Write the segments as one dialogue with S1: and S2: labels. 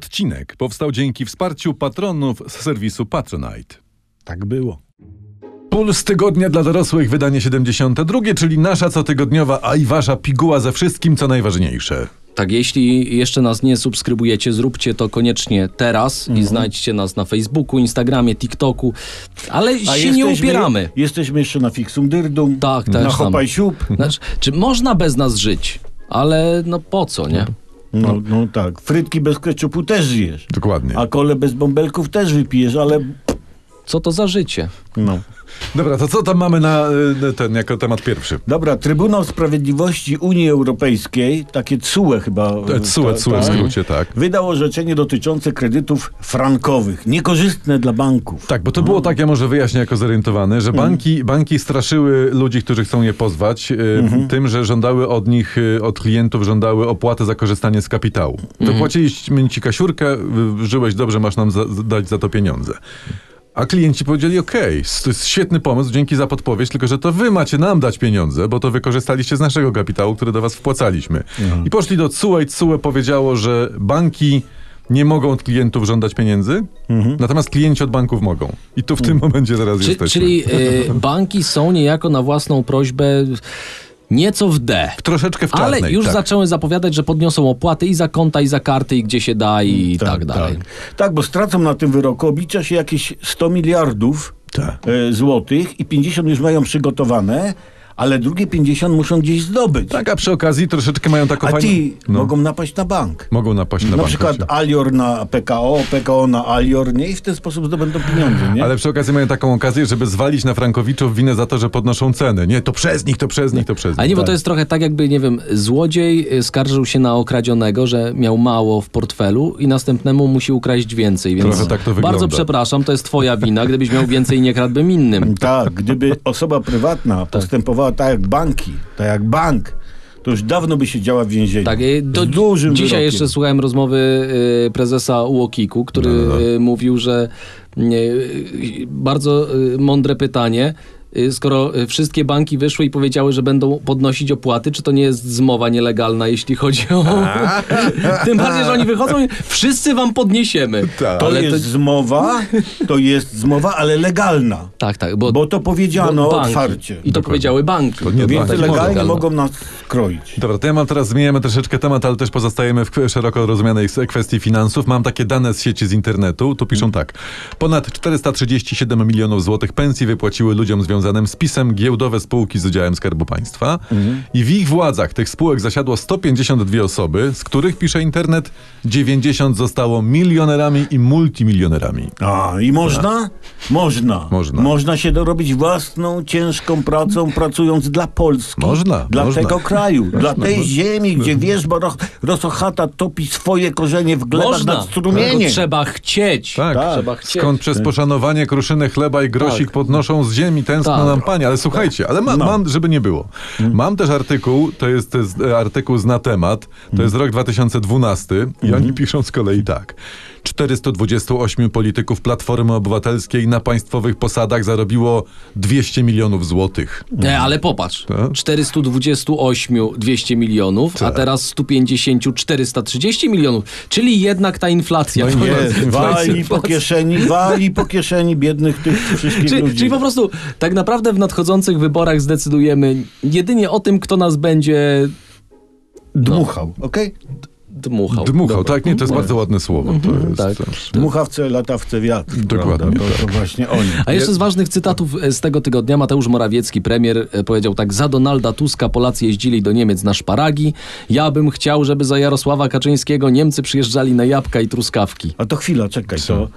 S1: Odcinek powstał dzięki wsparciu patronów z serwisu Patronite.
S2: Tak było.
S1: Puls tygodnia dla dorosłych, wydanie 72, czyli nasza cotygodniowa, a i wasza piguła ze wszystkim, co najważniejsze.
S3: Tak, jeśli jeszcze nas nie subskrybujecie, zróbcie to koniecznie teraz
S1: Mhm.
S3: i znajdźcie nas na Facebooku, Instagramie, TikToku, ale się nie upieramy.
S2: Jesteśmy jeszcze na Fixum Dyrdum.
S3: Tak,
S2: Na
S3: też tam.
S2: Hopaj Siup.
S3: Znaczy, czy można bez nas żyć? Ale no po co, nie?
S2: No, no tak. Frytki bez keczupu też zjesz.
S1: Dokładnie.
S2: A kole bez bąbelków też wypijesz, ale...
S3: Co to za życie?
S2: No.
S1: Dobra, to co tam mamy na y, ten jako temat pierwszy?
S2: Dobra, Trybunał Sprawiedliwości Unii Europejskiej, takie CUE chyba...
S1: E, CUE,
S2: ta-
S1: CUE w
S2: tak,
S1: skrócie, tak.
S2: Wydał orzeczenie dotyczące kredytów frankowych, niekorzystne dla banków.
S1: Tak, bo to było tak, ja może wyjaśnię jako zorientowany, że banki, banki straszyły ludzi, którzy chcą je pozwać, y, tym, że żądały od nich, y, od klientów żądały opłaty za korzystanie z kapitału. Wypłaciliśmy ci kasiurkę, y, żyłeś dobrze, masz nam za, dać za to pieniądze. A klienci powiedzieli, okej, to jest świetny pomysł, dzięki za podpowiedź, tylko że to wy macie nam dać pieniądze, bo to wykorzystaliście z naszego kapitału, który do was wpłacaliśmy.
S2: Mhm.
S1: I poszli do CUE i CUE powiedziało, że banki nie mogą od klientów żądać pieniędzy,
S2: Mhm.
S1: natomiast klienci od banków mogą. I tu w tym momencie zaraz
S3: Czy,
S1: jesteśmy.
S3: czyli y, banki są niejako na własną prośbę nieco w D.
S1: Troszeczkę w
S3: Ale
S1: czarnej,
S3: już
S1: tak.
S3: zaczęły zapowiadać, że podniosą opłaty i za konta, i za karty, i gdzie się da, i tak, dalej.
S2: Tak. tak, bo stracą na tym wyroku, oblicza się jakieś 100 miliardów
S1: Tak.
S2: e, złotych i 50 już mają przygotowane, ale drugie 50 muszą gdzieś zdobyć.
S1: tak, a przy okazji troszeczkę mają taką
S2: A
S1: fajną...
S2: ci
S1: No.
S2: mogą napaść na bank.
S1: Mogą napaść na,
S2: Na,
S1: bank,
S2: przykład
S1: oczywiście.
S2: Alior na PKO, PKO na Alior, nie? I w ten sposób zdobędą pieniądze, nie?
S1: Ale przy okazji mają taką okazję, żeby zwalić na Frankowiczów winę za to, że podnoszą ceny. Nie, to przez nich, to przez nich, to przez
S3: A
S1: nich.
S3: nie, bo to jest trochę tak, jakby, nie wiem, złodziej y, skarżył się na okradzionego, że miał mało w portfelu i następnemu musi ukraść więcej. Więc
S1: Trochę tak to wygląda.
S3: Bardzo przepraszam, to jest twoja wina. Gdybyś miał więcej, nie kradłbym innym.
S2: Tak, gdyby osoba prywatna postępowała tak jak banki, tak jak bank, to już dawno by się działa w więzieniu.
S3: Tak, y, do,
S2: Z dużym
S3: dzisiaj
S2: wyrokiem.
S3: jeszcze słuchałem rozmowy y, prezesa UOKiK-u, który
S2: No,
S3: y, mówił, że nie, y, bardzo y, mądre pytanie. Y, Skoro y, wszystkie banki wyszły i powiedziały, że będą podnosić opłaty, czy to nie jest zmowa nielegalna, jeśli chodzi o. Tym bardziej, że oni wychodzą i wszyscy wam podniesiemy.
S1: Tak.
S2: To
S3: Ale
S2: jest zmowa, to jest zmowa, ale legalna.
S3: Tak, tak, bo,
S2: Bo to powiedziano
S3: banki.
S2: otwarcie.
S3: I to powiedziały banki.
S1: To nie
S2: Więc
S1: banki.
S2: legalnie
S3: Legalna.
S2: mogą nas kroić.
S1: Dobra, to ja mam teraz, zmieniamy troszeczkę temat, ale też pozostajemy w szeroko rozumianej s- kwestii finansów. Mam takie dane z sieci, z internetu, tu piszą tak. Ponad 437 milionów złotych pensji wypłaciły ludziom związanym z PiSem giełdowe spółki z udziałem Skarbu Państwa i w ich władzach tych spółek zasiadło 152 osoby, z których, pisze internet, 90 zostało milionerami i multimilionerami.
S2: A,
S3: Tak.
S2: i można? Można.
S1: Można.
S2: się dorobić własną, ciężką pracą, pracując dla Polski.
S1: Można,
S2: Dla
S1: można.
S2: tego kraju, dla tej
S1: można.
S2: ziemi, gdzie wierzba roch, rosochata topi swoje korzenie w glebach
S3: Można,
S2: nad strumieniem.
S3: tylko trzeba chcieć.
S1: Tak.
S3: Trzeba chcieć.
S1: Skąd przez poszanowanie kruszyny chleba i grosik
S3: Tak.
S1: podnoszą z ziemi tęskno
S3: Tak. No. Mm.
S1: nam panie. Ale słuchajcie, ale ma, mam, żeby nie było. Mam też artykuł, to jest e, artykuł z na temat, to
S3: Mm.
S1: jest rok 2012 i oni piszą z kolei tak. 428 polityków Platformy Obywatelskiej na państwowych posadach zarobiło 200 milionów złotych.
S3: Nie, E, ale popatrz.
S1: Tak.
S3: 428 200 milionów, a teraz 150 430 milionów. Czyli jednak ta inflacja.
S1: No i nie,
S2: Jest, wali po kieszeni, wali po kieszeni biednych tych wszystkich
S3: Czyli,
S2: ludzi.
S3: czyli po prostu tak naprawdę w nadchodzących wyborach zdecydujemy jedynie o tym, kto nas będzie
S2: Dmuchał, okej?
S3: Tak.
S1: Dmuchał,
S3: dmuchał. No, Dobra. Mm.
S1: tak? Nie, to jest bardzo ładne słowo. To jest,
S3: tak.
S2: Dmuchawce, latawce, wiatr.
S1: Dokładnie
S2: prawda? To, to właśnie oni.
S3: A jeszcze z ważnych cytatów e, z tego tygodnia Mateusz Morawiecki, premier, e, powiedział tak: Za Donalda Tuska Polacy jeździli do Niemiec na szparagi. Ja bym chciał, żeby za Jarosława Kaczyńskiego Niemcy przyjeżdżali na jabłka i truskawki.
S2: A to chwila, czekaj, to,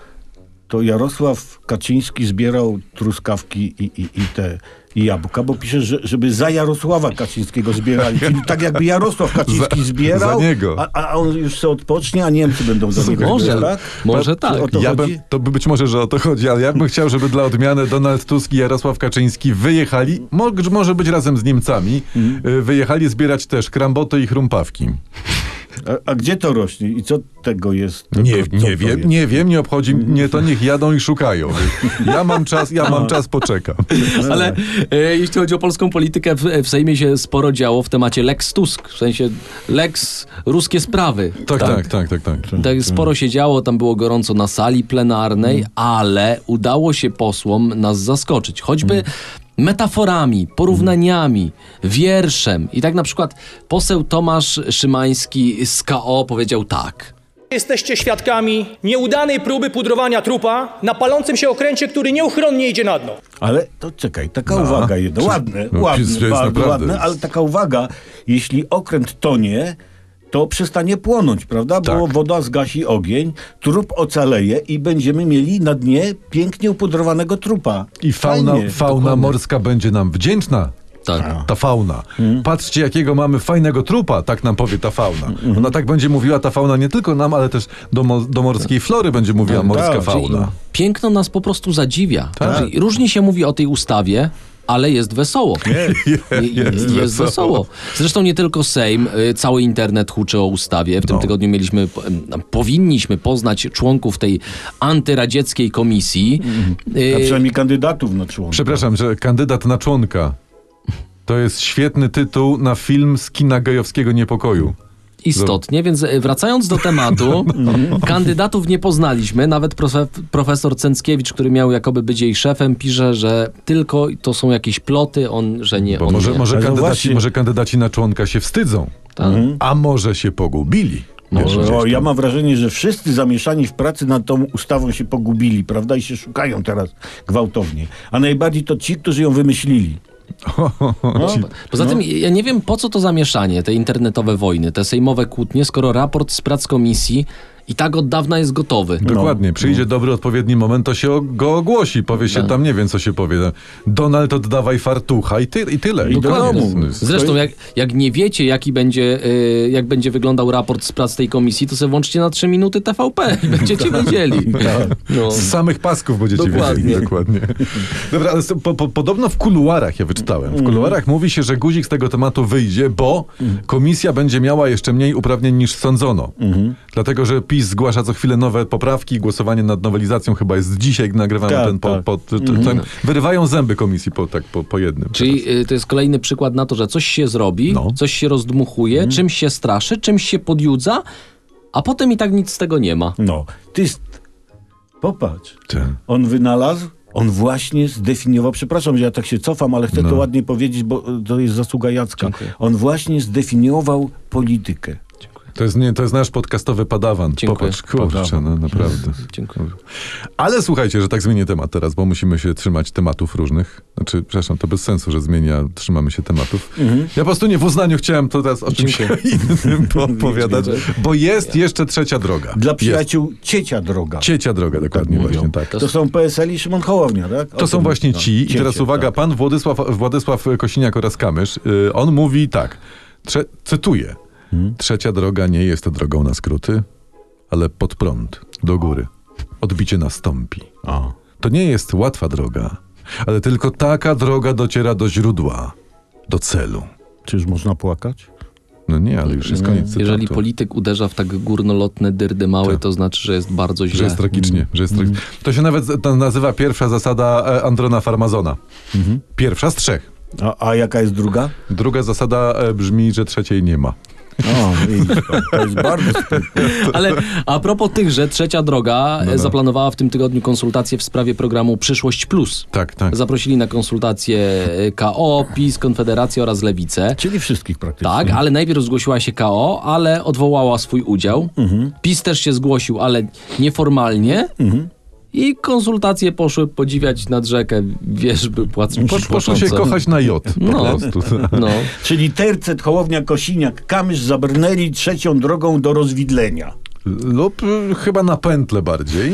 S2: to Jarosław Kaczyński zbierał truskawki i, i, i te i jabłka, bo pisze, że, żeby za Jarosława Kaczyńskiego zbierali. Czyli tak jakby Jarosław Kaczyński
S1: Za-
S2: zbierał,
S1: za niego.
S2: A, a on już se odpocznie, a Niemcy będą za niego.
S3: Może,
S2: zbierać.
S3: może tak.
S2: O to
S1: ja
S2: chodzi?
S1: bym, to by być może, że o to chodzi, ale ja bym chciał, żeby dla odmiany Donald Tusk i Jarosław Kaczyński wyjechali, mo, Mhm. może być razem z Niemcami, y, wyjechali zbierać też kramboty i chrumpawki.
S2: A, a gdzie to rośnie i co tego jest?
S1: Nie,
S2: Co
S1: nie
S2: to
S1: wiem,
S2: jest?
S1: nie wiem, No, nie No. obchodzi mnie to, niech jadą i szukają. Ja mam czas, ja mam czas, poczekam.
S3: Ale e, jeśli chodzi o polską politykę, w, w Sejmie się sporo działo w temacie Lex Tusk, w sensie Lex ruskie sprawy.
S1: Tak, tak, tak, tak, tak.
S3: Tak, sporo się działo, tam było gorąco na sali
S1: Mm.
S3: plenarnej, ale udało się posłom nas zaskoczyć.
S1: Mm.
S3: Choćby metaforami, porównaniami, wierszem. I tak na przykład poseł Tomasz Szymański z KO powiedział tak.
S4: Jesteście świadkami nieudanej próby pudrowania trupa na palącym się okręcie, który nieuchronnie idzie na dno.
S2: Ale to czekaj, taka uwaga jedna. Ładne,
S1: no,
S2: ładne,
S1: jest- jest
S2: bardzo
S1: naprawdę.
S2: ładne, ale taka uwaga, jeśli okręt tonie, to przestanie płonąć, prawda? Bo
S1: Tak.
S2: woda zgasi ogień, trup ocaleje i będziemy mieli na dnie pięknie upudrowanego trupa.
S1: I fauna,
S2: Fajnie.
S1: fauna morska będzie nam wdzięczna.
S3: Tak.
S1: Ta fauna.
S2: Mm.
S1: Patrzcie, jakiego mamy fajnego trupa, tak nam powie ta fauna.
S2: mm.
S1: Ona tak będzie mówiła ta fauna nie tylko nam, ale też do, mo- do morskiej flory będzie mówiła morska
S2: tak, czyli-
S1: fauna.
S3: No. Piękno nas po prostu zadziwia. Czyli Różnie się mówi o tej ustawie, ale jest wesoło. Je-
S1: jest
S3: jest,
S1: wesoło.
S3: wesoło. Zresztą nie tylko Sejm, y, cały internet huczy o ustawie. W tym tygodniu mieliśmy, po- em, powinniśmy poznać członków tej antyradzieckiej komisji.
S2: A
S3: Y,
S2: przynajmniej kandydatów na członka.
S1: Przepraszam, że kandydat na członka. To jest świetny tytuł na film z kina gejowskiego niepokoju.
S3: Istotnie, więc e, wracając do tematu, kandydatów nie poznaliśmy. Nawet profe, profesor Cęckiewicz, który miał jakoby być jej szefem, pisze, że tylko to są jakieś ploty, on, że nie.
S1: Bo
S3: on
S1: może,
S3: nie.
S1: może, Mhm.
S2: Ale no
S1: kandydaci,
S2: właśnie.
S1: może kandydaci na członka się wstydzą,
S3: Tak.
S1: a może się pogubili. Wiesz, gdzieś
S2: Bo
S1: tam.
S2: ja mam wrażenie, że wszyscy zamieszani w pracy nad tą ustawą się pogubili, prawda? I się szukają teraz gwałtownie. A najbardziej to ci, którzy ją wymyślili. No.
S1: No.
S3: Poza tym ja nie wiem, po co to zamieszanie, te internetowe wojny, te sejmowe kłótnie, skoro raport z prac komisji i tak od dawna jest gotowy.
S1: Dokładnie,
S2: No,
S1: przyjdzie dobry, odpowiedni moment, to się o- go ogłosi, powie się tam, nie wiem co się powie. Donald, oddawaj fartucha i, ty, i tyle. I
S2: Dokładnie. No,
S1: koniec.
S3: Zresztą, jak, jak nie wiecie, jaki będzie, y, jak będzie wyglądał raport z prac tej komisji, to sobie włączcie na 3 minuty TVP i będziecie
S1: Tak.
S3: wiedzieli. No.
S1: Z samych pasków będziecie
S3: Dokładnie.
S1: wiedzieli. Dokładnie. Dobra, ale s- po, po, podobno w kuluarach, ja wyczytałem,
S2: Mhm.
S1: w kuluarach mówi się, że guzik z tego tematu wyjdzie, bo komisja będzie miała jeszcze mniej uprawnień niż sądzono.
S2: Mhm.
S1: Dlatego, że PiS zgłasza co chwilę nowe poprawki, głosowanie nad nowelizacją chyba jest dzisiaj, jak nagrywamy
S2: Tak,
S1: ten, po,
S2: tak.
S1: po, t- t- ten... Wyrywają zęby komisji po, tak, po, po jednym.
S3: Czyli y, to jest kolejny przykład na to, że coś się zrobi,
S1: No. Mhm.
S3: coś się rozdmuchuje, czymś się straszy, czymś się podjudza, a potem i tak nic z tego nie ma.
S2: No, ty jest... Popatrz.
S1: Ten.
S2: On wynalazł, on właśnie zdefiniował, przepraszam, że ja tak się cofam, ale chcę
S1: No.
S2: to ładnie powiedzieć, bo e, to jest zasługa Jacka. On właśnie zdefiniował politykę.
S1: To jest, nie, to jest nasz podcastowy padawan.
S3: Dziękuję.
S1: Popatrz, kurczę,
S2: Padawan.
S1: no, naprawdę.
S3: Dziękuję.
S1: Ale słuchajcie, że tak zmienię temat teraz, bo musimy się trzymać tematów różnych. Znaczy, przepraszam, to bez sensu, że zmienia, trzymamy się tematów. Ja po prostu nie w uznaniu chciałem to teraz o czymś innym opowiadać, bo jest jeszcze trzecia droga.
S2: Dla
S1: jest.
S2: przyjaciół ciecia droga.
S1: Ciecia droga, dokładnie,
S2: mówią.
S1: właśnie tak.
S2: To są PSL i Szymon Hołownia, tak?
S1: To są właśnie ci. I teraz uwaga, pan Władysław, Władysław Kosiniak oraz Kamysz, y, on mówi tak, trze, cytuję, trzecia droga nie jest drogą na skróty, ale pod prąd, do góry. Odbicie nastąpi.
S2: O.
S1: To nie jest łatwa droga, ale tylko taka droga dociera do źródła, do celu.
S2: Czyż można płakać?
S1: No nie, ale już jest koniec cytatu.
S3: Jeżeli polityk uderza w tak górnolotne dyrdy małe, to znaczy, że jest bardzo źle.
S1: Tak. Że jest tragicznie. Że jest tragi- To się nawet z- to nazywa pierwsza zasada e, Androna Farmazona. Pierwsza z trzech.
S2: A, a jaka jest druga?
S1: Druga zasada e, brzmi, że trzeciej nie ma.
S2: O, widzisz pan, to jest bardzo sprytne.
S3: Ale a propos tychże, Trzecia Droga
S1: No tak.
S3: e, zaplanowała w tym tygodniu konsultacje w sprawie programu Przyszłość Plus.
S1: Tak, tak.
S3: Zaprosili na konsultacje e, KO, PiS, Konfederację oraz Lewicę.
S2: Czyli wszystkich praktycznie.
S3: Tak, ale najpierw zgłosiła się KO, ale odwołała swój udział.
S1: Mhm.
S3: PiS też się zgłosił, ale nieformalnie. I konsultacje poszły podziwiać nad rzekę wierzby płac
S1: Posz, poszło się kochać na jod. Po
S3: No.
S1: prostu.
S3: No.
S2: Czyli tercet, Hołownia, Kosiniak, Kamysz zabrnęli trzecią drogą do rozwidlenia.
S1: Lub y, chyba na pętle bardziej.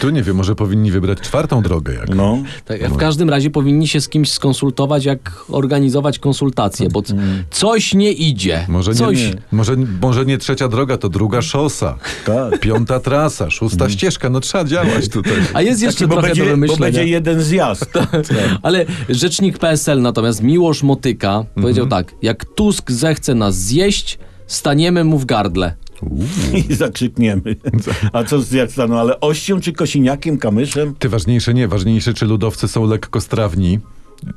S1: tu nie wiem, może powinni wybrać czwartą drogę jak.
S2: No.
S3: Tak, w każdym razie powinni się z kimś skonsultować, jak organizować konsultacje, bo c- coś nie idzie.
S1: Mm. Może nie,
S3: coś.
S1: Może, może nie trzecia droga, to druga szosa.
S2: Tak.
S1: Piąta trasa, szósta ścieżka. No trzeba działać tutaj.
S3: Mhm. A jest jeszcze
S2: Bo
S3: trochę do
S2: będzie, bo
S3: wymyślenia.
S2: będzie jeden zjazd. tak.
S3: Ale
S1: Mhm.
S3: rzecznik PSL natomiast Miłosz Motyka powiedział tak, jak Tusk zechce nas zjeść, staniemy mu w gardle.
S2: I zakrzykniemy. A co z jak staną, ale ością czy kosiniakiem, kamyszem?
S1: Ty ważniejsze nie, ważniejsze czy ludowcy są lekkostrawni,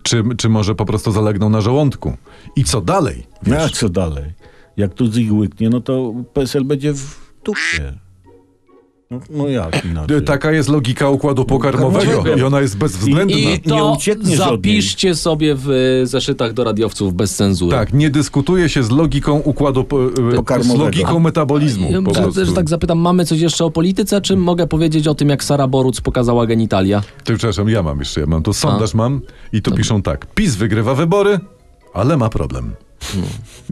S1: czy, czy może po prostu zalegną na żołądku. I co dalej?
S2: No a co dalej? Jak tu ich łyknie, no to PSL będzie w dupie. No, no jak inaczej?
S1: Y, Taka jest logika układu
S3: No,
S1: pokarmowego i ona jest bezwzględna.
S3: I
S2: nie
S3: to
S2: uciekniesz od niej.
S3: zapiszcie sobie w y, zeszytach do radiowców bez cenzury.
S1: Tak, nie dyskutuje się z logiką układu, po- y, z
S2: Pokarmowego.
S1: logiką metabolizmu.
S3: Ja
S1: Po
S3: może
S1: prostu.
S3: też tak zapytam, mamy coś jeszcze o polityce, czy mogę powiedzieć o tym, jak Sara Boruc pokazała genitalia?
S1: Ty, przepraszam, ja mam jeszcze, ja mam to sondaż mam i tu piszą tak. PiS wygrywa wybory, ale ma problem.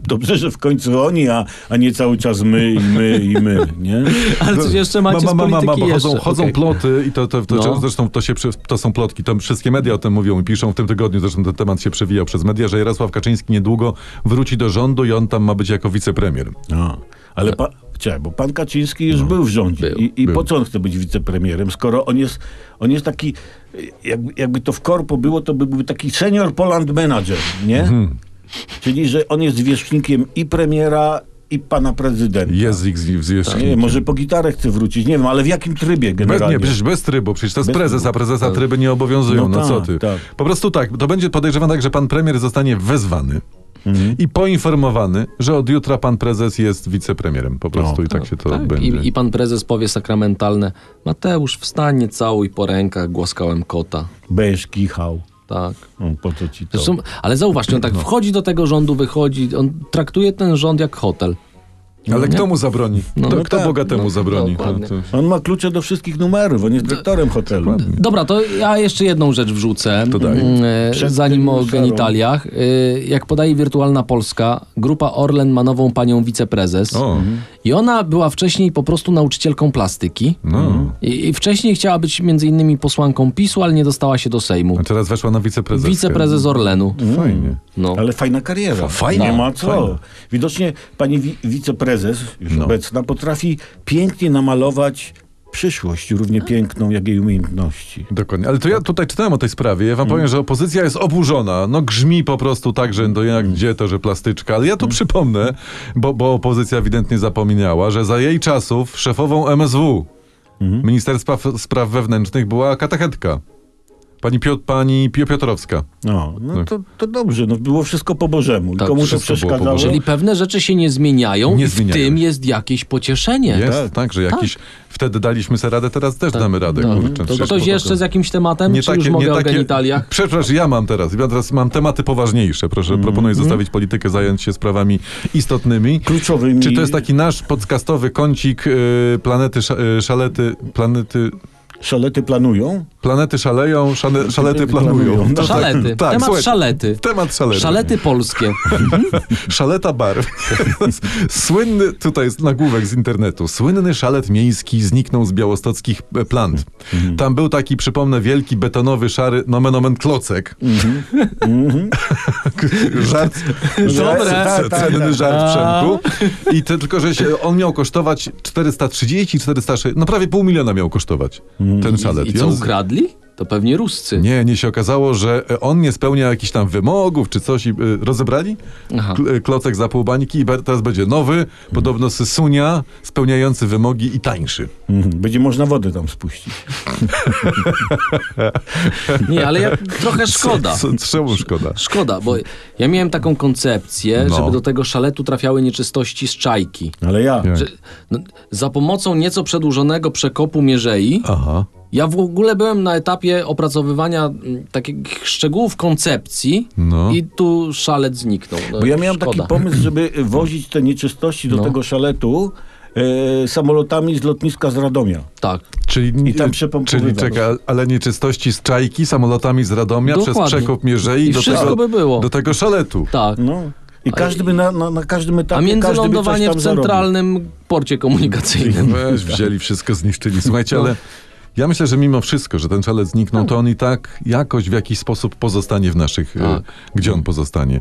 S2: Dobrze, że w końcu oni, a, a nie cały czas my i my i my, nie?
S3: Ale coś jeszcze macie
S1: ma, ma, ma, ma,
S3: z polityki
S1: bo
S3: jeszcze.
S1: chodzą, chodzą
S3: Okej.
S1: ploty i to, to, to,
S3: No.
S1: zresztą to, się, przy- to są plotki, to wszystkie media o tym mówią i piszą w tym tygodniu, zresztą ten temat się przewijał przez media, że Jarosław Kaczyński niedługo wróci do rządu i on tam ma być jako wicepremier.
S2: No, ale pa, czekaj, bo pan Kaczyński już był w rządzie.
S3: No, Był.
S2: I, i po co on chce być wicepremierem, skoro on jest, on jest taki, jakby, jakby to w korpo było, to by był taki senior Poland manager, nie?
S3: Mhm.
S2: Czyli, że on jest wierzchnikiem i premiera, i pana prezydenta.
S1: Jest ich z- z- jeszcze.
S2: Nie
S3: Tak.
S2: wiem, może po gitarę chce wrócić, nie wiem, ale w jakim trybie
S1: Bez,
S2: generalnie?
S1: nie, przecież bez trybu, przecież to jest
S2: Bez
S1: prezes,
S2: trybu. Tak.
S1: a prezesa tryby nie obowiązują, no,
S2: No
S1: co
S2: tak,
S1: ty.
S2: tak.
S1: Po prostu tak, to będzie podejrzewam tak, że pan premier zostanie wezwany
S2: Mhm.
S1: i poinformowany, że od jutra pan prezes jest wicepremierem, po
S2: No
S1: prostu i tak się to
S3: Tak,
S1: odbędzie.
S3: i, I pan prezes powie sakramentalne, Mateusz, wstanie, całuj po rękach, głaskałem kota.
S2: Będziesz kichał.
S3: Tak.
S2: No, po co ci to?
S3: Zresztą, ale zauważcie, on
S1: No.
S3: tak wchodzi do tego rządu, wychodzi, on traktuje ten rząd jak hotel. no
S1: Ale kto mu zabroni? to, kto bogatemu zabroni?
S3: tak, dokładnie.
S1: to, to...
S2: On ma klucze do wszystkich numerów, on
S3: No-
S2: jest dyrektorem hotelu.
S3: Dobra, to ja jeszcze jedną rzecz wrzucę,
S1: To daj.
S3: mm, e,
S2: Przed
S3: zanim
S2: tym
S3: o
S2: szarą.
S3: genitaliach. Y, Jak podaje Wirtualna Polska, grupa Orlen ma nową panią wiceprezes
S1: O,
S2: Mhm.
S3: i ona była wcześniej po prostu nauczycielką plastyki.
S1: no.
S3: I, I wcześniej chciała być między innymi posłanką PiSu, ale nie dostała się do Sejmu.
S1: A teraz weszła na wiceprezeskę.
S3: Wiceprezes Orlenu.
S1: Fajnie.
S3: No.
S2: Ale fajna kariera.
S1: Fajna.
S2: Nie ma co.
S1: Fajna.
S2: Widocznie pani wi- wiceprezes, już
S1: No.
S2: obecna, potrafi pięknie namalować przyszłość, równie piękną jak jej umiejętności.
S1: Dokładnie. Ale to ja tutaj czytałem o tej sprawie. Ja wam
S3: Mm.
S1: powiem, że opozycja jest oburzona. No grzmi po prostu tak, że to jak gdzie to, że plastyczka. Ale
S3: Mm.
S1: ja tu przypomnę, bo, bo opozycja ewidentnie zapomniała, że za jej czasów szefową MSW,
S3: Mhm.
S1: Ministerstwa F- Spraw Wewnętrznych, była katechetka. Pani, Piot, pani Pio Piotrowska.
S2: No, no to, to dobrze, no było wszystko po Bożemu.
S3: Tak,
S2: Komu to
S1: Tak. wszystko było po
S2: przeszkadzało?
S1: Bożemu.
S3: Czyli pewne rzeczy się nie zmieniają
S1: Nie
S3: i w
S1: zmieniają.
S3: tym jest jakieś pocieszenie.
S1: Jest, tak, że jakiś... Wtedy daliśmy sobie radę, teraz też damy radę.
S3: No.
S1: Kurczę,
S3: to
S1: przecież
S3: ktoś
S1: po-
S3: jeszcze z jakimś tematem? Czy już mogę o genitaliach? Mhm.
S1: Przepraszam, ja mam teraz. Ja teraz mam tematy poważniejsze. Proszę, proponuję zostawić politykę, zająć się sprawami istotnymi.
S2: Kluczowymi.
S1: Czy to jest tak- taki nasz podcastowy kącik y, planety, sz, y, szalety, planety...
S2: Szalety planują?
S1: Planety szaleją, szale, szalety planują.
S2: planują.
S1: To
S3: Szalety.
S1: Tak, tak,
S3: Temat
S1: słuchaj,
S3: szalety.
S1: Temat szalety.
S3: Szalety polskie.
S1: Szaleta bar. Słynny, tutaj jest nagłówek z internetu, słynny szalet miejski zniknął z białostockich e, plant.
S3: Mhm.
S1: Tam był taki, przypomnę, wielki betonowy, szary, nomen omen klocek.
S3: Mhm.
S1: żart. żart
S3: Dobre.
S1: c- c-
S3: tak.
S1: Cenny żart Przemku. I to, tylko, że się, on miał kosztować 430, 460, no prawie pół miliona miał kosztować ten szalet.
S3: Mhm. I
S1: I
S3: co
S1: on z-
S3: ukradli? To pewnie Ruscy.
S1: nie, nie się okazało, że e, on nie spełnia jakichś tam wymogów czy coś i y, rozebrali
S3: Aha.
S1: Kl- y, klocek za pół bańki i ber- teraz będzie nowy, podobno sysunia, spełniający wymogi i tańszy.
S2: Mhm. Będzie można wodę tam spuścić.
S3: Nie, ale ja, trochę szkoda.
S1: Co, czemu szkoda?
S3: Szkoda, bo ja miałem taką koncepcję,
S1: No.
S3: żeby do tego szaletu trafiały nieczystości z czajki.
S2: Ale ja.
S1: Nie.
S3: Że, no, za pomocą nieco przedłużonego przekopu mierzei
S1: Aha.
S3: Ja w ogóle byłem na etapie opracowywania mm, takich szczegółów koncepcji
S1: No.
S3: i tu szalet zniknął. No,
S2: Bo ja miałem
S3: szkoda.
S2: taki pomysł, żeby wozić te nieczystości do
S3: No.
S2: tego szaletu e, samolotami z lotniska z Radomia.
S3: Tak.
S1: Czyli,
S2: I tam
S1: y,
S2: przepompowywał.
S1: czyli czeka, ale nieczystości z czajki, samolotami z Radomia, przez
S3: Dokładnie.
S1: przekop Mierzei
S3: I
S1: do
S3: wszystko
S1: tego,
S3: by było.
S1: do tego szaletu.
S3: Tak.
S2: No. I każdy by na, na, na każdym
S3: A
S2: etapie każdy by coś
S3: międzylądowanie
S2: tam
S3: w
S2: zarobił.
S3: centralnym porcie komunikacyjnym.
S1: Weź, wzięli wszystko, zniszczyli.
S3: No.
S1: Słuchajcie, ale ja myślę, że mimo wszystko, że ten szalet zniknął, to on i tak jakoś w jakiś sposób pozostanie w naszych... e,
S3: Tak.
S1: Gdzie on pozostanie?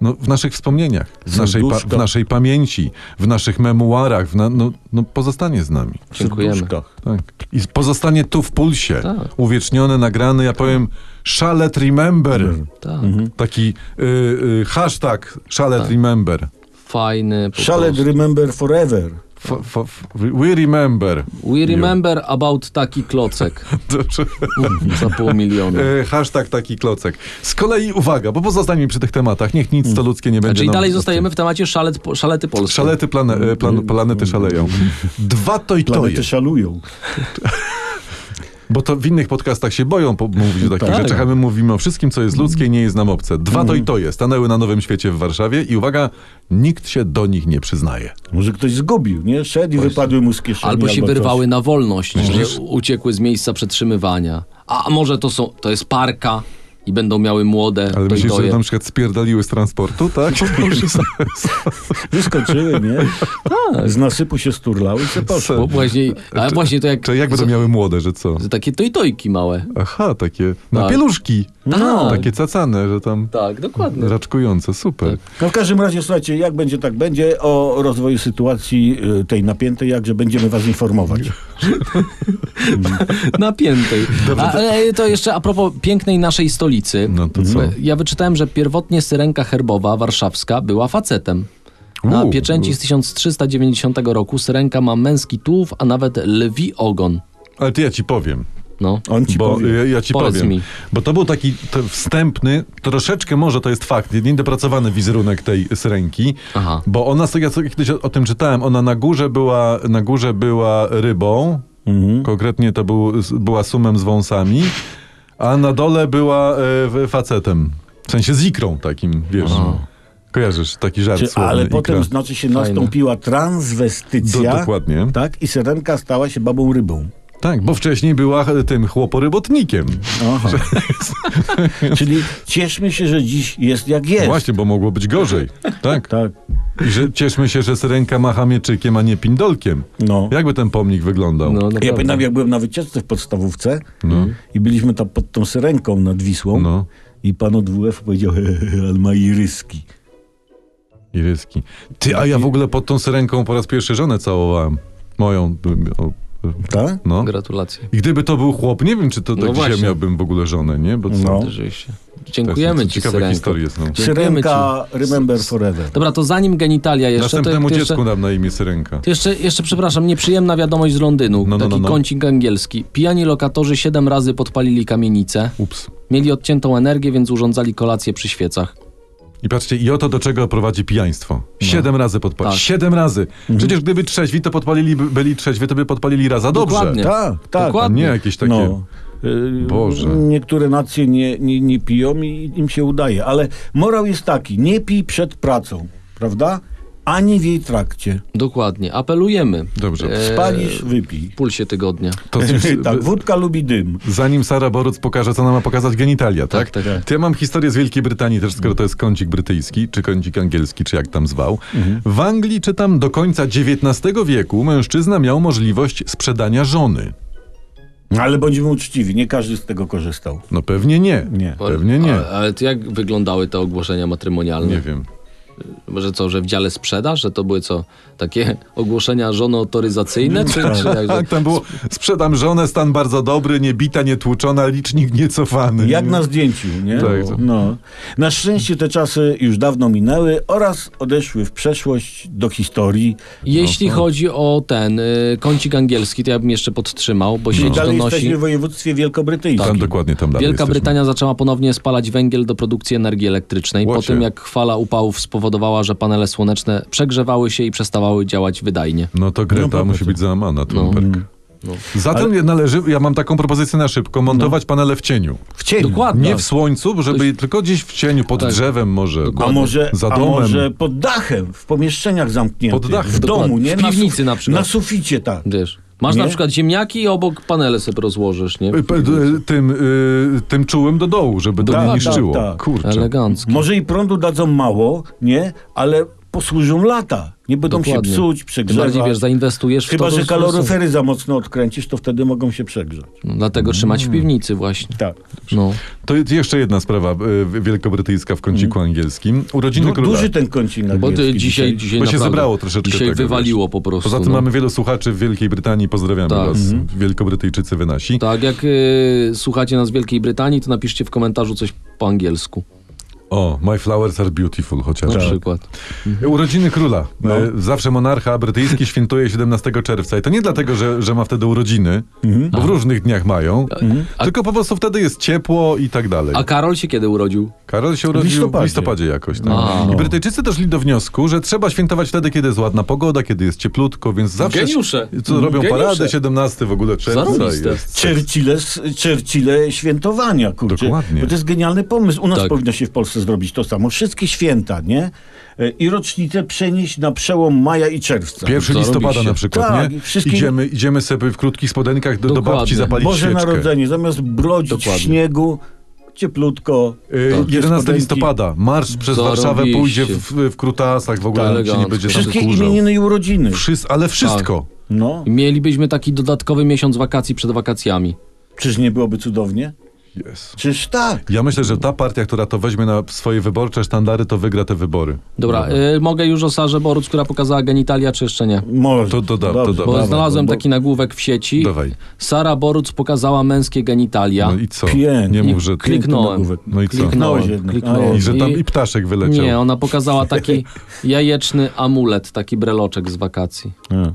S1: No, w naszych wspomnieniach, w naszej, pa-
S2: Serduszko.
S1: w naszej pamięci, w naszych memuarach, w na, no, no, pozostanie z nami.
S3: Dziękujemy.
S2: Serduszkach.
S1: Tak. I pozostanie tu w pulsie,
S3: Tak.
S1: uwieczniony, nagrany, ja powiem szalet remember.
S3: Tak.
S1: Taki y, y, hashtag szalet remember.
S3: fajny. Po
S2: Shall
S3: prostu.
S2: remember forever.
S1: F, f, f, we remember.
S3: We remember about taki klocek
S1: Dobrze.
S3: za pół miliona.
S1: E, Hashtag taki klocek. Z kolei uwaga, bo pozostańmy przy tych tematach. Niech nic to ludzkie nie będzie.
S3: Czyli
S2: no,
S1: nam-
S3: Znaczy, dalej zostajemy w temacie szalet, po- szalety polskie.
S1: Szalety plane, e, plan, planety szaleją. Dwa
S2: Planety
S1: tojtoje.
S2: szalują.
S1: Bo to w innych podcastach się boją po- mówić o takich
S3: Tak. Mm.
S1: rzeczach, a my mówimy o wszystkim, co jest ludzkie i nie jest nam obce. Dwa tojtoje stanęły na Nowym Świecie w Warszawie i uwaga, nikt się do nich nie przyznaje.
S2: Może ktoś zgubił, nie? Szedł i wypadły mu z kieszeni.
S3: Albo się
S2: coś.
S3: wyrwały na wolność, że uciekły z miejsca przetrzymywania. A może to są, to jest parka i będą miały młode
S1: Ale myślisz, że
S3: dojdoje.
S1: na przykład spierdaliły z transportu, tak?
S2: Wyskoczyły, nie?
S3: Tak.
S2: Z nasypu się sturlały i se poszły.
S3: Bo właśnie, ale właśnie to jak,
S1: Czy jak będą miały młode, że co?
S3: z- takie tojtojki małe.
S1: Aha, takie na
S3: Tak.
S1: pieluszki.
S3: Tak.
S1: No, Takie cacane, że tam
S3: Tak, dokładnie.
S1: raczkujące, super.
S3: Tak.
S2: No w każdym razie, słuchajcie, jak będzie, tak będzie. O rozwoju sytuacji y, tej napiętej, jakże będziemy was informować.
S3: Napiętej. A, ale to jeszcze a propos pięknej naszej stolicy. Mm.
S1: No to co?
S3: Ja wyczytałem, że pierwotnie syrenka herbowa warszawska była facetem. Na
S1: Uuu.
S3: pieczęci z 1390 roku syrenka ma męski tułów, a nawet lwi ogon.
S1: Ale to ja ci powiem.
S3: No.
S2: On ci
S1: bo y,
S2: powie.
S1: ja, ja ci
S3: Powiedz
S1: powiem.
S3: mi.
S1: Bo to był taki to wstępny, troszeczkę może to jest fakt, niedopracowany wizerunek tej syrenki.
S3: Aha.
S1: Bo ona, sobie- ja sobie kiedyś o, o tym czytałem, ona na górze była, na górze była rybą,
S3: Mhm.
S1: konkretnie to był, była sumem z wąsami, a na dole była e, facetem. W sensie z ikrą takim, wiesz. Kojarzysz taki żart
S2: Czy,
S1: słowny,
S2: ale
S1: ikra.
S2: potem, znaczy się, nastąpiła transwestycja.
S1: Do- dokładnie.
S2: Tak? I syrenka stała się babą rybą.
S1: Tak, bo wcześniej była e, tym chłoporybotnikiem.
S2: Aha. Czyli cieszmy się, że dziś jest jak jest.
S1: Właśnie, bo mogło być gorzej. Tak.
S2: Tak.
S1: I że cieszmy się, że syrenka macha mieczykiem, a nie pindolkiem.
S2: No.
S1: Jakby ten pomnik wyglądał?
S3: No,
S2: Ja
S3: naprawdę.
S2: pamiętam, jak byłem na wycieczce w podstawówce i byliśmy tam pod tą syrenką nad Wisłą
S1: No.
S2: i pan od WF powiedział, "He, he, he, ale ma iryski.
S1: Iryski. Ty, a ja w ogóle pod tą syrenką po raz pierwszy żonę całowałem. Moją. o, o,
S2: Tak?
S1: No.
S3: Gratulacje.
S1: I gdyby to był chłop, nie wiem, czy to tak
S3: No
S1: dzisiaj
S3: właśnie.
S1: miałbym w ogóle żonę, nie? Bo co?
S2: No.
S1: To jest-
S3: Rzeczywiście.
S1: to
S3: Dziękujemy ci,
S1: Ciekawe
S3: Syrenko.
S1: historie są.
S3: Dziękujemy
S2: Syrenka Remember Forever.
S3: Dobra, to zanim genitalia jeszcze...
S1: Następnemu
S3: to, to
S1: dziecku
S3: jeszcze...
S1: dam na imię syrenka.
S3: To Jeszcze, jeszcze, przepraszam, nieprzyjemna wiadomość z Londynu.
S1: No, no,
S3: Taki
S1: no, no.
S3: kącik angielski. Pijani lokatorzy siedem razy podpalili kamienicę.
S1: Ups.
S3: Mieli odciętą energię, więc urządzali kolację przy świecach.
S1: I patrzcie, i oto do czego prowadzi pijaństwo. Siedem razy podpalili.
S3: No. Tak.
S1: Siedem razy! Przecież gdyby trzeźwi, to podpalili, byli trzeźwi, to by podpalili raz, a dobrze.
S3: Dokładnie.
S2: Tak, tak.
S1: A
S3: Dokładnie.
S1: nie jakieś takie...
S2: No. Y,
S1: Boże.
S2: Niektóre nacje nie, nie, nie piją i im się udaje, ale morał jest taki, nie pij przed pracą, prawda? Ani w jej trakcie.
S3: Dokładnie. Apelujemy.
S1: Dobrze.
S3: E,
S2: Spalisz, wypij.
S3: W pulsie tygodnia.
S1: To coś-
S2: tak, wódka lubi dym.
S1: Zanim Sara Boruc pokaże, co nam ma pokazać genitalia, tak?
S3: Tak, tak.
S1: To ja mam historię z Wielkiej Brytanii też, skoro to jest kącik brytyjski, czy kącik angielski, czy jak tam zwał.
S3: Mhm.
S1: W Anglii, czytam, do końca XIX wieku mężczyzna miał możliwość sprzedania żony.
S2: Ale bądźmy uczciwi, nie każdy z tego korzystał.
S1: No pewnie nie.
S2: Nie.
S1: Pewnie nie.
S3: Ale, ale to jak wyglądały te ogłoszenia matrymonialne?
S1: Nie wiem.
S3: Może co, że w dziale sprzedaż? Że to były co, takie ogłoszenia żonoautoryzacyjne? Czy, czy jak,
S1: Tak, tam było, sprzedam żonę, stan bardzo dobry, niebita, nietłuczona, licznik niecofany.
S2: Jak
S1: Nie-
S2: na zdjęciu, nie?
S1: Tak.
S2: No. Na szczęście te czasy już dawno minęły oraz odeszły w przeszłość do historii.
S3: Jeśli
S1: no.
S3: chodzi o ten y, kącik angielski, to ja bym jeszcze podtrzymał, bo
S2: I
S1: No.
S3: sieć
S2: dalej
S3: donosi... Tak.
S2: jesteśmy w województwie
S1: Tam
S2: wielkobrytyjskim.
S1: dokładnie, tam dalej
S3: Wielka
S1: jesteśmy.
S3: Brytania zaczęła ponownie spalać węgiel do produkcji energii elektrycznej, po
S1: Łocie.
S3: tym jak fala upałów spowodowała, że panele słoneczne przegrzewały się i przestawały działać wydajnie.
S1: No to Greta musi być
S3: No,
S1: załamana, Thunberg. Zatem należy, ja mam taką propozycję na szybko, montować panele w cieniu.
S2: W cieniu.
S3: Dokładnie.
S1: Nie
S3: No. Tak.
S1: w słońcu, żeby tylko gdzieś w cieniu, pod drzewem może.
S2: A może,
S1: Za
S2: a
S1: domem.
S2: może pod dachem, w pomieszczeniach zamkniętych,
S1: Pod dachem.
S2: w domu,
S3: Dokładnie.
S2: nie?
S3: W piwnicy
S2: suf-
S3: na przykład.
S2: Na suficie, tak.
S3: Wiesz, masz
S2: Nie?
S3: na przykład ziemniaki i obok panele sobie rozłożysz, nie?
S1: Y, p- y, Tym, y, tym czułem do dołu, żeby to
S2: Tak,
S1: nie
S2: tak,
S1: niszczyło.
S2: tak.
S1: Kurczę.
S3: Elegancko.
S2: Może i prądu dadzą mało, nie? Ale posłużą lata. Nie będą
S3: Dokładnie.
S2: się psuć,
S3: Tym bardziej, wiesz,
S2: przegrzewać.
S3: zainwestujesz w
S2: Chyba,
S3: to,
S2: że
S3: to-
S2: kaloryfery za mocno odkręcisz, to wtedy mogą się przegrzać.
S3: No, dlatego trzymać w piwnicy właśnie.
S2: Tak.
S3: No.
S1: To jest jeszcze jedna sprawa y, wielkobrytyjska w kąciku
S3: Mhm.
S1: angielskim. Urodziny
S2: Du,
S1: króla.
S2: No, duży ten kącik na
S3: No Bo ty dzisiaj, No, dzisiaj
S1: Bo się
S3: naprawdę-
S1: zebrało troszeczkę
S3: Dzisiaj
S1: tego,
S3: wywaliło po prostu.
S1: Poza tym
S3: no.
S1: mamy wielu słuchaczy w Wielkiej Brytanii, pozdrawiamy
S3: Tak.
S1: was, wielkobrytyjczycy wy nasi.
S3: Tak, jak y, słuchacie nas w Wielkiej Brytanii, to napiszcie w komentarzu coś po angielsku.
S1: O, My Flowers Are Beautiful
S3: Na
S1: chociażby.
S3: przykład.
S2: Mhm.
S1: Urodziny króla.
S2: No.
S1: E, Zawsze monarcha brytyjski świętuje 17 czerwca. I to nie dlatego, że, że ma wtedy urodziny,
S2: Mhm.
S1: bo w różnych dniach mają, tylko po prostu wtedy jest ciepło i tak dalej.
S3: A Karol się kiedy urodził?
S1: Karol się urodził w listopadzie,
S2: listopadzie. no.
S1: jakoś. Tak?
S3: A.
S1: I Brytyjczycy doszli do wniosku, że trzeba świętować wtedy, kiedy jest ładna pogoda, kiedy jest cieplutko, więc zawsze...
S5: Geniusze.
S1: Co robią
S5: Geniusze.
S1: parady 17 w ogóle czerwca. i
S3: Zarobiste.
S1: Jest.
S2: Churchille, Churchille świętowania, kurczę.
S1: Dokładnie.
S2: Bo to jest genialny pomysł. U nas
S3: Tak.
S2: powinno się w Polsce zrobić to samo. Wszystkie święta, nie? E, I rocznicę przenieść na przełom maja i czerwca.
S1: 1 listopada
S3: Zarobiście.
S1: na przykład,
S2: Tak,
S1: nie?
S2: i wszystkim-
S1: Idziemy, idziemy sobie w krótkich spodenkach do, do
S3: Dokładnie.
S1: babci zapalić
S2: Boże
S1: świeczkę.
S2: Narodzenie, zamiast brodzić
S3: Dokładnie.
S2: w śniegu, cieplutko. e,
S1: Y,
S3: Tak.
S2: krótkie
S1: 11
S2: spodenki.
S1: listopada. Marsz przez
S3: Zarobiście.
S1: Warszawę pójdzie w, w krutasach, w ogóle
S3: Tak,
S1: się nie będzie tam
S2: Wszystkie
S1: wkurzał.
S2: imieniny i urodziny.
S1: Wszys- ale wszystko.
S2: No,
S3: Mielibyśmy taki dodatkowy miesiąc wakacji przed wakacjami.
S2: czyż nie byłoby cudownie?
S1: Yes.
S2: Czyż tak?
S1: Ja myślę, że ta partia, która to weźmie na swoje wyborcze sztandary, to wygra te wybory.
S3: Dobra, y, mogę już o Sarze Boruc, która pokazała genitalia, czy jeszcze nie?
S2: Może.
S1: To doda- to
S2: Dobrze,
S1: doda- No
S3: Bo
S1: Dawaj,
S3: znalazłem
S2: bo-
S3: taki nagłówek w sieci.
S1: Dawaj.
S3: Sara Boruc pokazała męskie genitalia.
S1: No i co?
S2: Pięknie.
S1: Nie mów, że...
S3: Klik- Kliknąłem.
S2: nagłówek.
S1: No i co?
S2: Kliknąłeś
S3: Kliknąłem,
S2: jednak.
S3: kliknąłem.
S1: I że tam
S3: I-
S1: i ptaszek wyleciał.
S3: Nie, ona pokazała taki jajeczny amulet, taki breloczek z wakacji.
S2: A. E,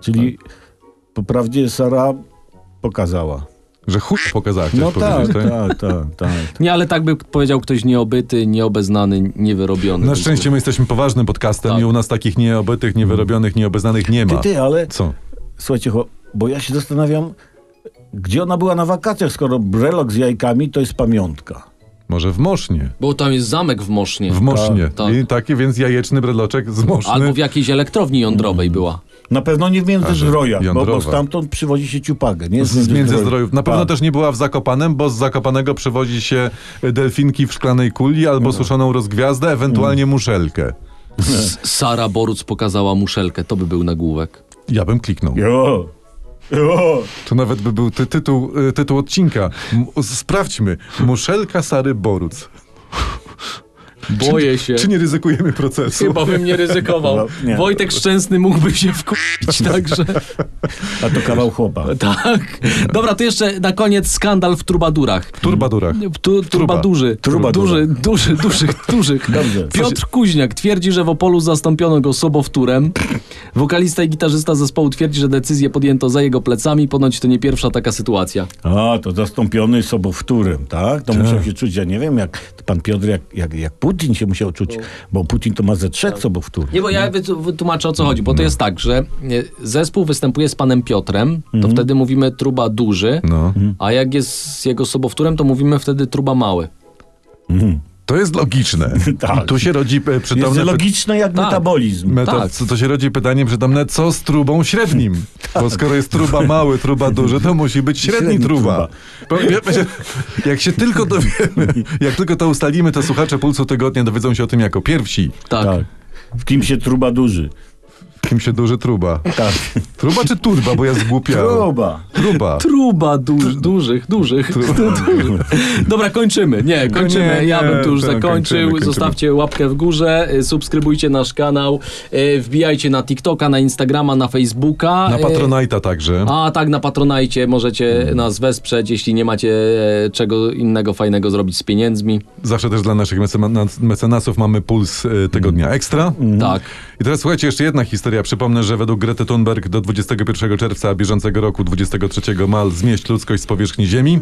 S2: Czyli
S3: Tak.
S2: po prawdzie Sara pokazała.
S1: Że chuj pokazała, chciałeś
S2: No tak,
S1: powiedzieć, tak?
S2: tak, tak, tak.
S3: Nie, ale tak by powiedział ktoś nieobyty, nieobeznany, niewyrobiony.
S1: Na szczęście my jesteśmy poważnym podcastem
S3: Tak.
S1: i u nas takich nieobytych, niewyrobionych, nieobeznanych nie
S2: Ty,
S1: ma.
S2: ty, ale
S1: Co?
S2: słuchajcie, cho- bo ja się zastanawiam, gdzie ona była na wakacjach, skoro brelok z jajkami to jest pamiątka.
S1: Może w Mosznie?
S3: Bo tam jest zamek w Mosznie.
S1: W Mosznie.
S3: tak.
S1: I taki więc jajeczny bredloczek z Moszny.
S3: Albo w jakiejś elektrowni jądrowej
S1: Mm.
S3: była.
S2: Na pewno nie w Międzyzdrojach, bo,
S1: jądrowa.
S2: bo stamtąd przywozi się ciupagę, nie?
S1: Z Międzyzdrojów.
S2: Międzyzdrojów.
S1: Na pewno
S2: Tak.
S1: też nie była w Zakopanem, bo z Zakopanego przywozi się e, delfinki w szklanej kuli albo
S2: No.
S1: suszoną rozgwiazdę,
S2: Mm.
S1: ewentualnie muszelkę.
S3: S- Sara Boruc pokazała muszelkę, to by był nagłówek.
S1: Ja bym kliknął.
S2: Jo! Jo!
S1: To nawet by był ty tytuł, y, tytuł odcinka. M- sprawdźmy. Muszelka Sary Boruc.
S3: Boję się.
S1: Czy nie ryzykujemy procesu?
S3: Chyba bym nie ryzykował.
S2: No, nie. No.
S3: Wojtek Szczęsny mógłby się wkupić, także
S2: A to kawał chłopa.
S3: tak. Dobra, to jeszcze na koniec skandal w trubadurach.
S1: W turbadurach.
S3: W Tu, turba duży.
S2: Truba
S3: duży, duży, dużych, dużych.
S2: Dobrze.
S3: Piotr Kuźniak twierdzi, że w Opolu zastąpiono go sobowtórem. Wokalista i gitarzysta zespołu twierdzi, że decyzję podjęto za jego plecami. Ponoć to nie pierwsza taka sytuacja.
S2: A, to zastąpiony sobowtórem, tak? To musiał się czuć, ja nie wiem, jak pan Piotr, jak, jak, jak Putin się musiał czuć, bo Putin to ma ze trzech sobowtór.
S3: Nie, bo ja wytu- wytłumaczę o co chodzi,
S1: No.
S3: bo to jest tak, że e, zespół występuje z panem Piotrem, to wtedy mówimy truba duży,
S1: Mhm. No.
S3: a jak jest z jego sobowtórem, to mówimy wtedy truba mały.
S1: To jest logiczne.
S2: Tak.
S1: Tu się rodzi e,
S2: Jest
S1: przytomne...
S2: logiczne jak
S3: Tak.
S2: metabolizm.
S1: Meta,
S3: Tak.
S1: No co, co się rodzi pytanie przytomne, co z trubą średnim? Bo skoro jest truba mały, truba duży, to musi być średni,
S2: Średni
S1: truba.
S2: truba.
S1: Bo wiemy, że jak się tylko dowiemy, jak tylko to ustalimy, to słuchacze Pulsu Tygodnia dowiedzą się o tym jako pierwsi.
S3: Tak.
S2: Tak. W kim się truba duży.
S1: Kim się duży truba.
S2: Tak.
S1: Truba czy turba, bo ja zgłupiałem.
S2: Truba.
S1: Truba.
S3: Truba duż, dużych, dużych. Dobra, kończymy. Nie, kończymy.
S1: No nie,
S3: ja bym tu już
S1: tak,
S3: zakończył.
S1: kończymy, kończymy.
S3: Zostawcie łapkę w górę, y, subskrybujcie nasz kanał, y, wbijajcie na TikToka, na Instagrama, na Facebooka.
S1: Na
S3: y,
S1: Patronite'a także.
S3: A tak, na Patronajcie możecie nas wesprzeć, jeśli nie macie e, czego innego fajnego zrobić z pieniędzmi.
S1: Zawsze też dla naszych mecenas- mecenasów mamy Puls e, Tygodnia Ekstra.
S3: Tak.
S1: I teraz słuchajcie, jeszcze jedna historia. Przypomnę, że według Grety Thunberg do 21 czerwca bieżącego roku, 23 mal, zmieść ludzkość z powierzchni Ziemi.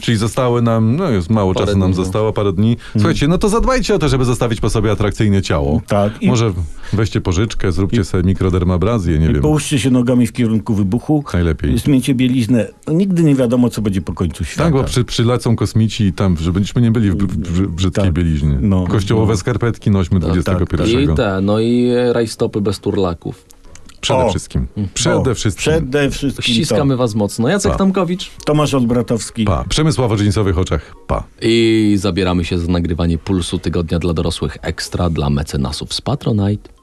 S1: Czyli zostały nam, no już mało
S3: Mhm. Parę
S1: czasu nam
S3: dni, no.
S1: zostało, parę dni. Słuchajcie, no to zadbajcie o to, żeby zostawić po sobie atrakcyjne ciało.
S2: Tak. I-
S1: Może weźcie pożyczkę, zróbcie sobie mikrodermabrazję, nie wiem.
S2: Połóżcie się nogami w kierunku wybuchu.
S1: Najlepiej.
S2: Zmieńcie bieliznę. Nigdy nie wiadomo, co będzie po końcu świata.
S1: Tak, bo przy, przylacą kosmici i tam, żebyśmy nie byli w br- br- brzydkiej
S2: Tak.
S1: bieliźnie.
S2: No.
S1: Kościołowe skarpetki nośmy 21.
S3: Tak, I te, no i e, rajstopy bez turlaków.
S1: Przede
S2: O.
S1: wszystkim.
S3: Mm.
S1: Przede
S2: O,
S1: wszystkim.
S2: Przede wszystkim.
S3: Ściskamy was mocno. Jacek
S1: Pa.
S3: Tomkowicz.
S2: To. Tomasz Olbratowski.
S1: Pa. Przemysław o dżinsowych oczach. Pa.
S3: I zabieramy się za nagrywanie Pulsu Tygodnia dla Dorosłych Ekstra dla mecenasów z Patronite.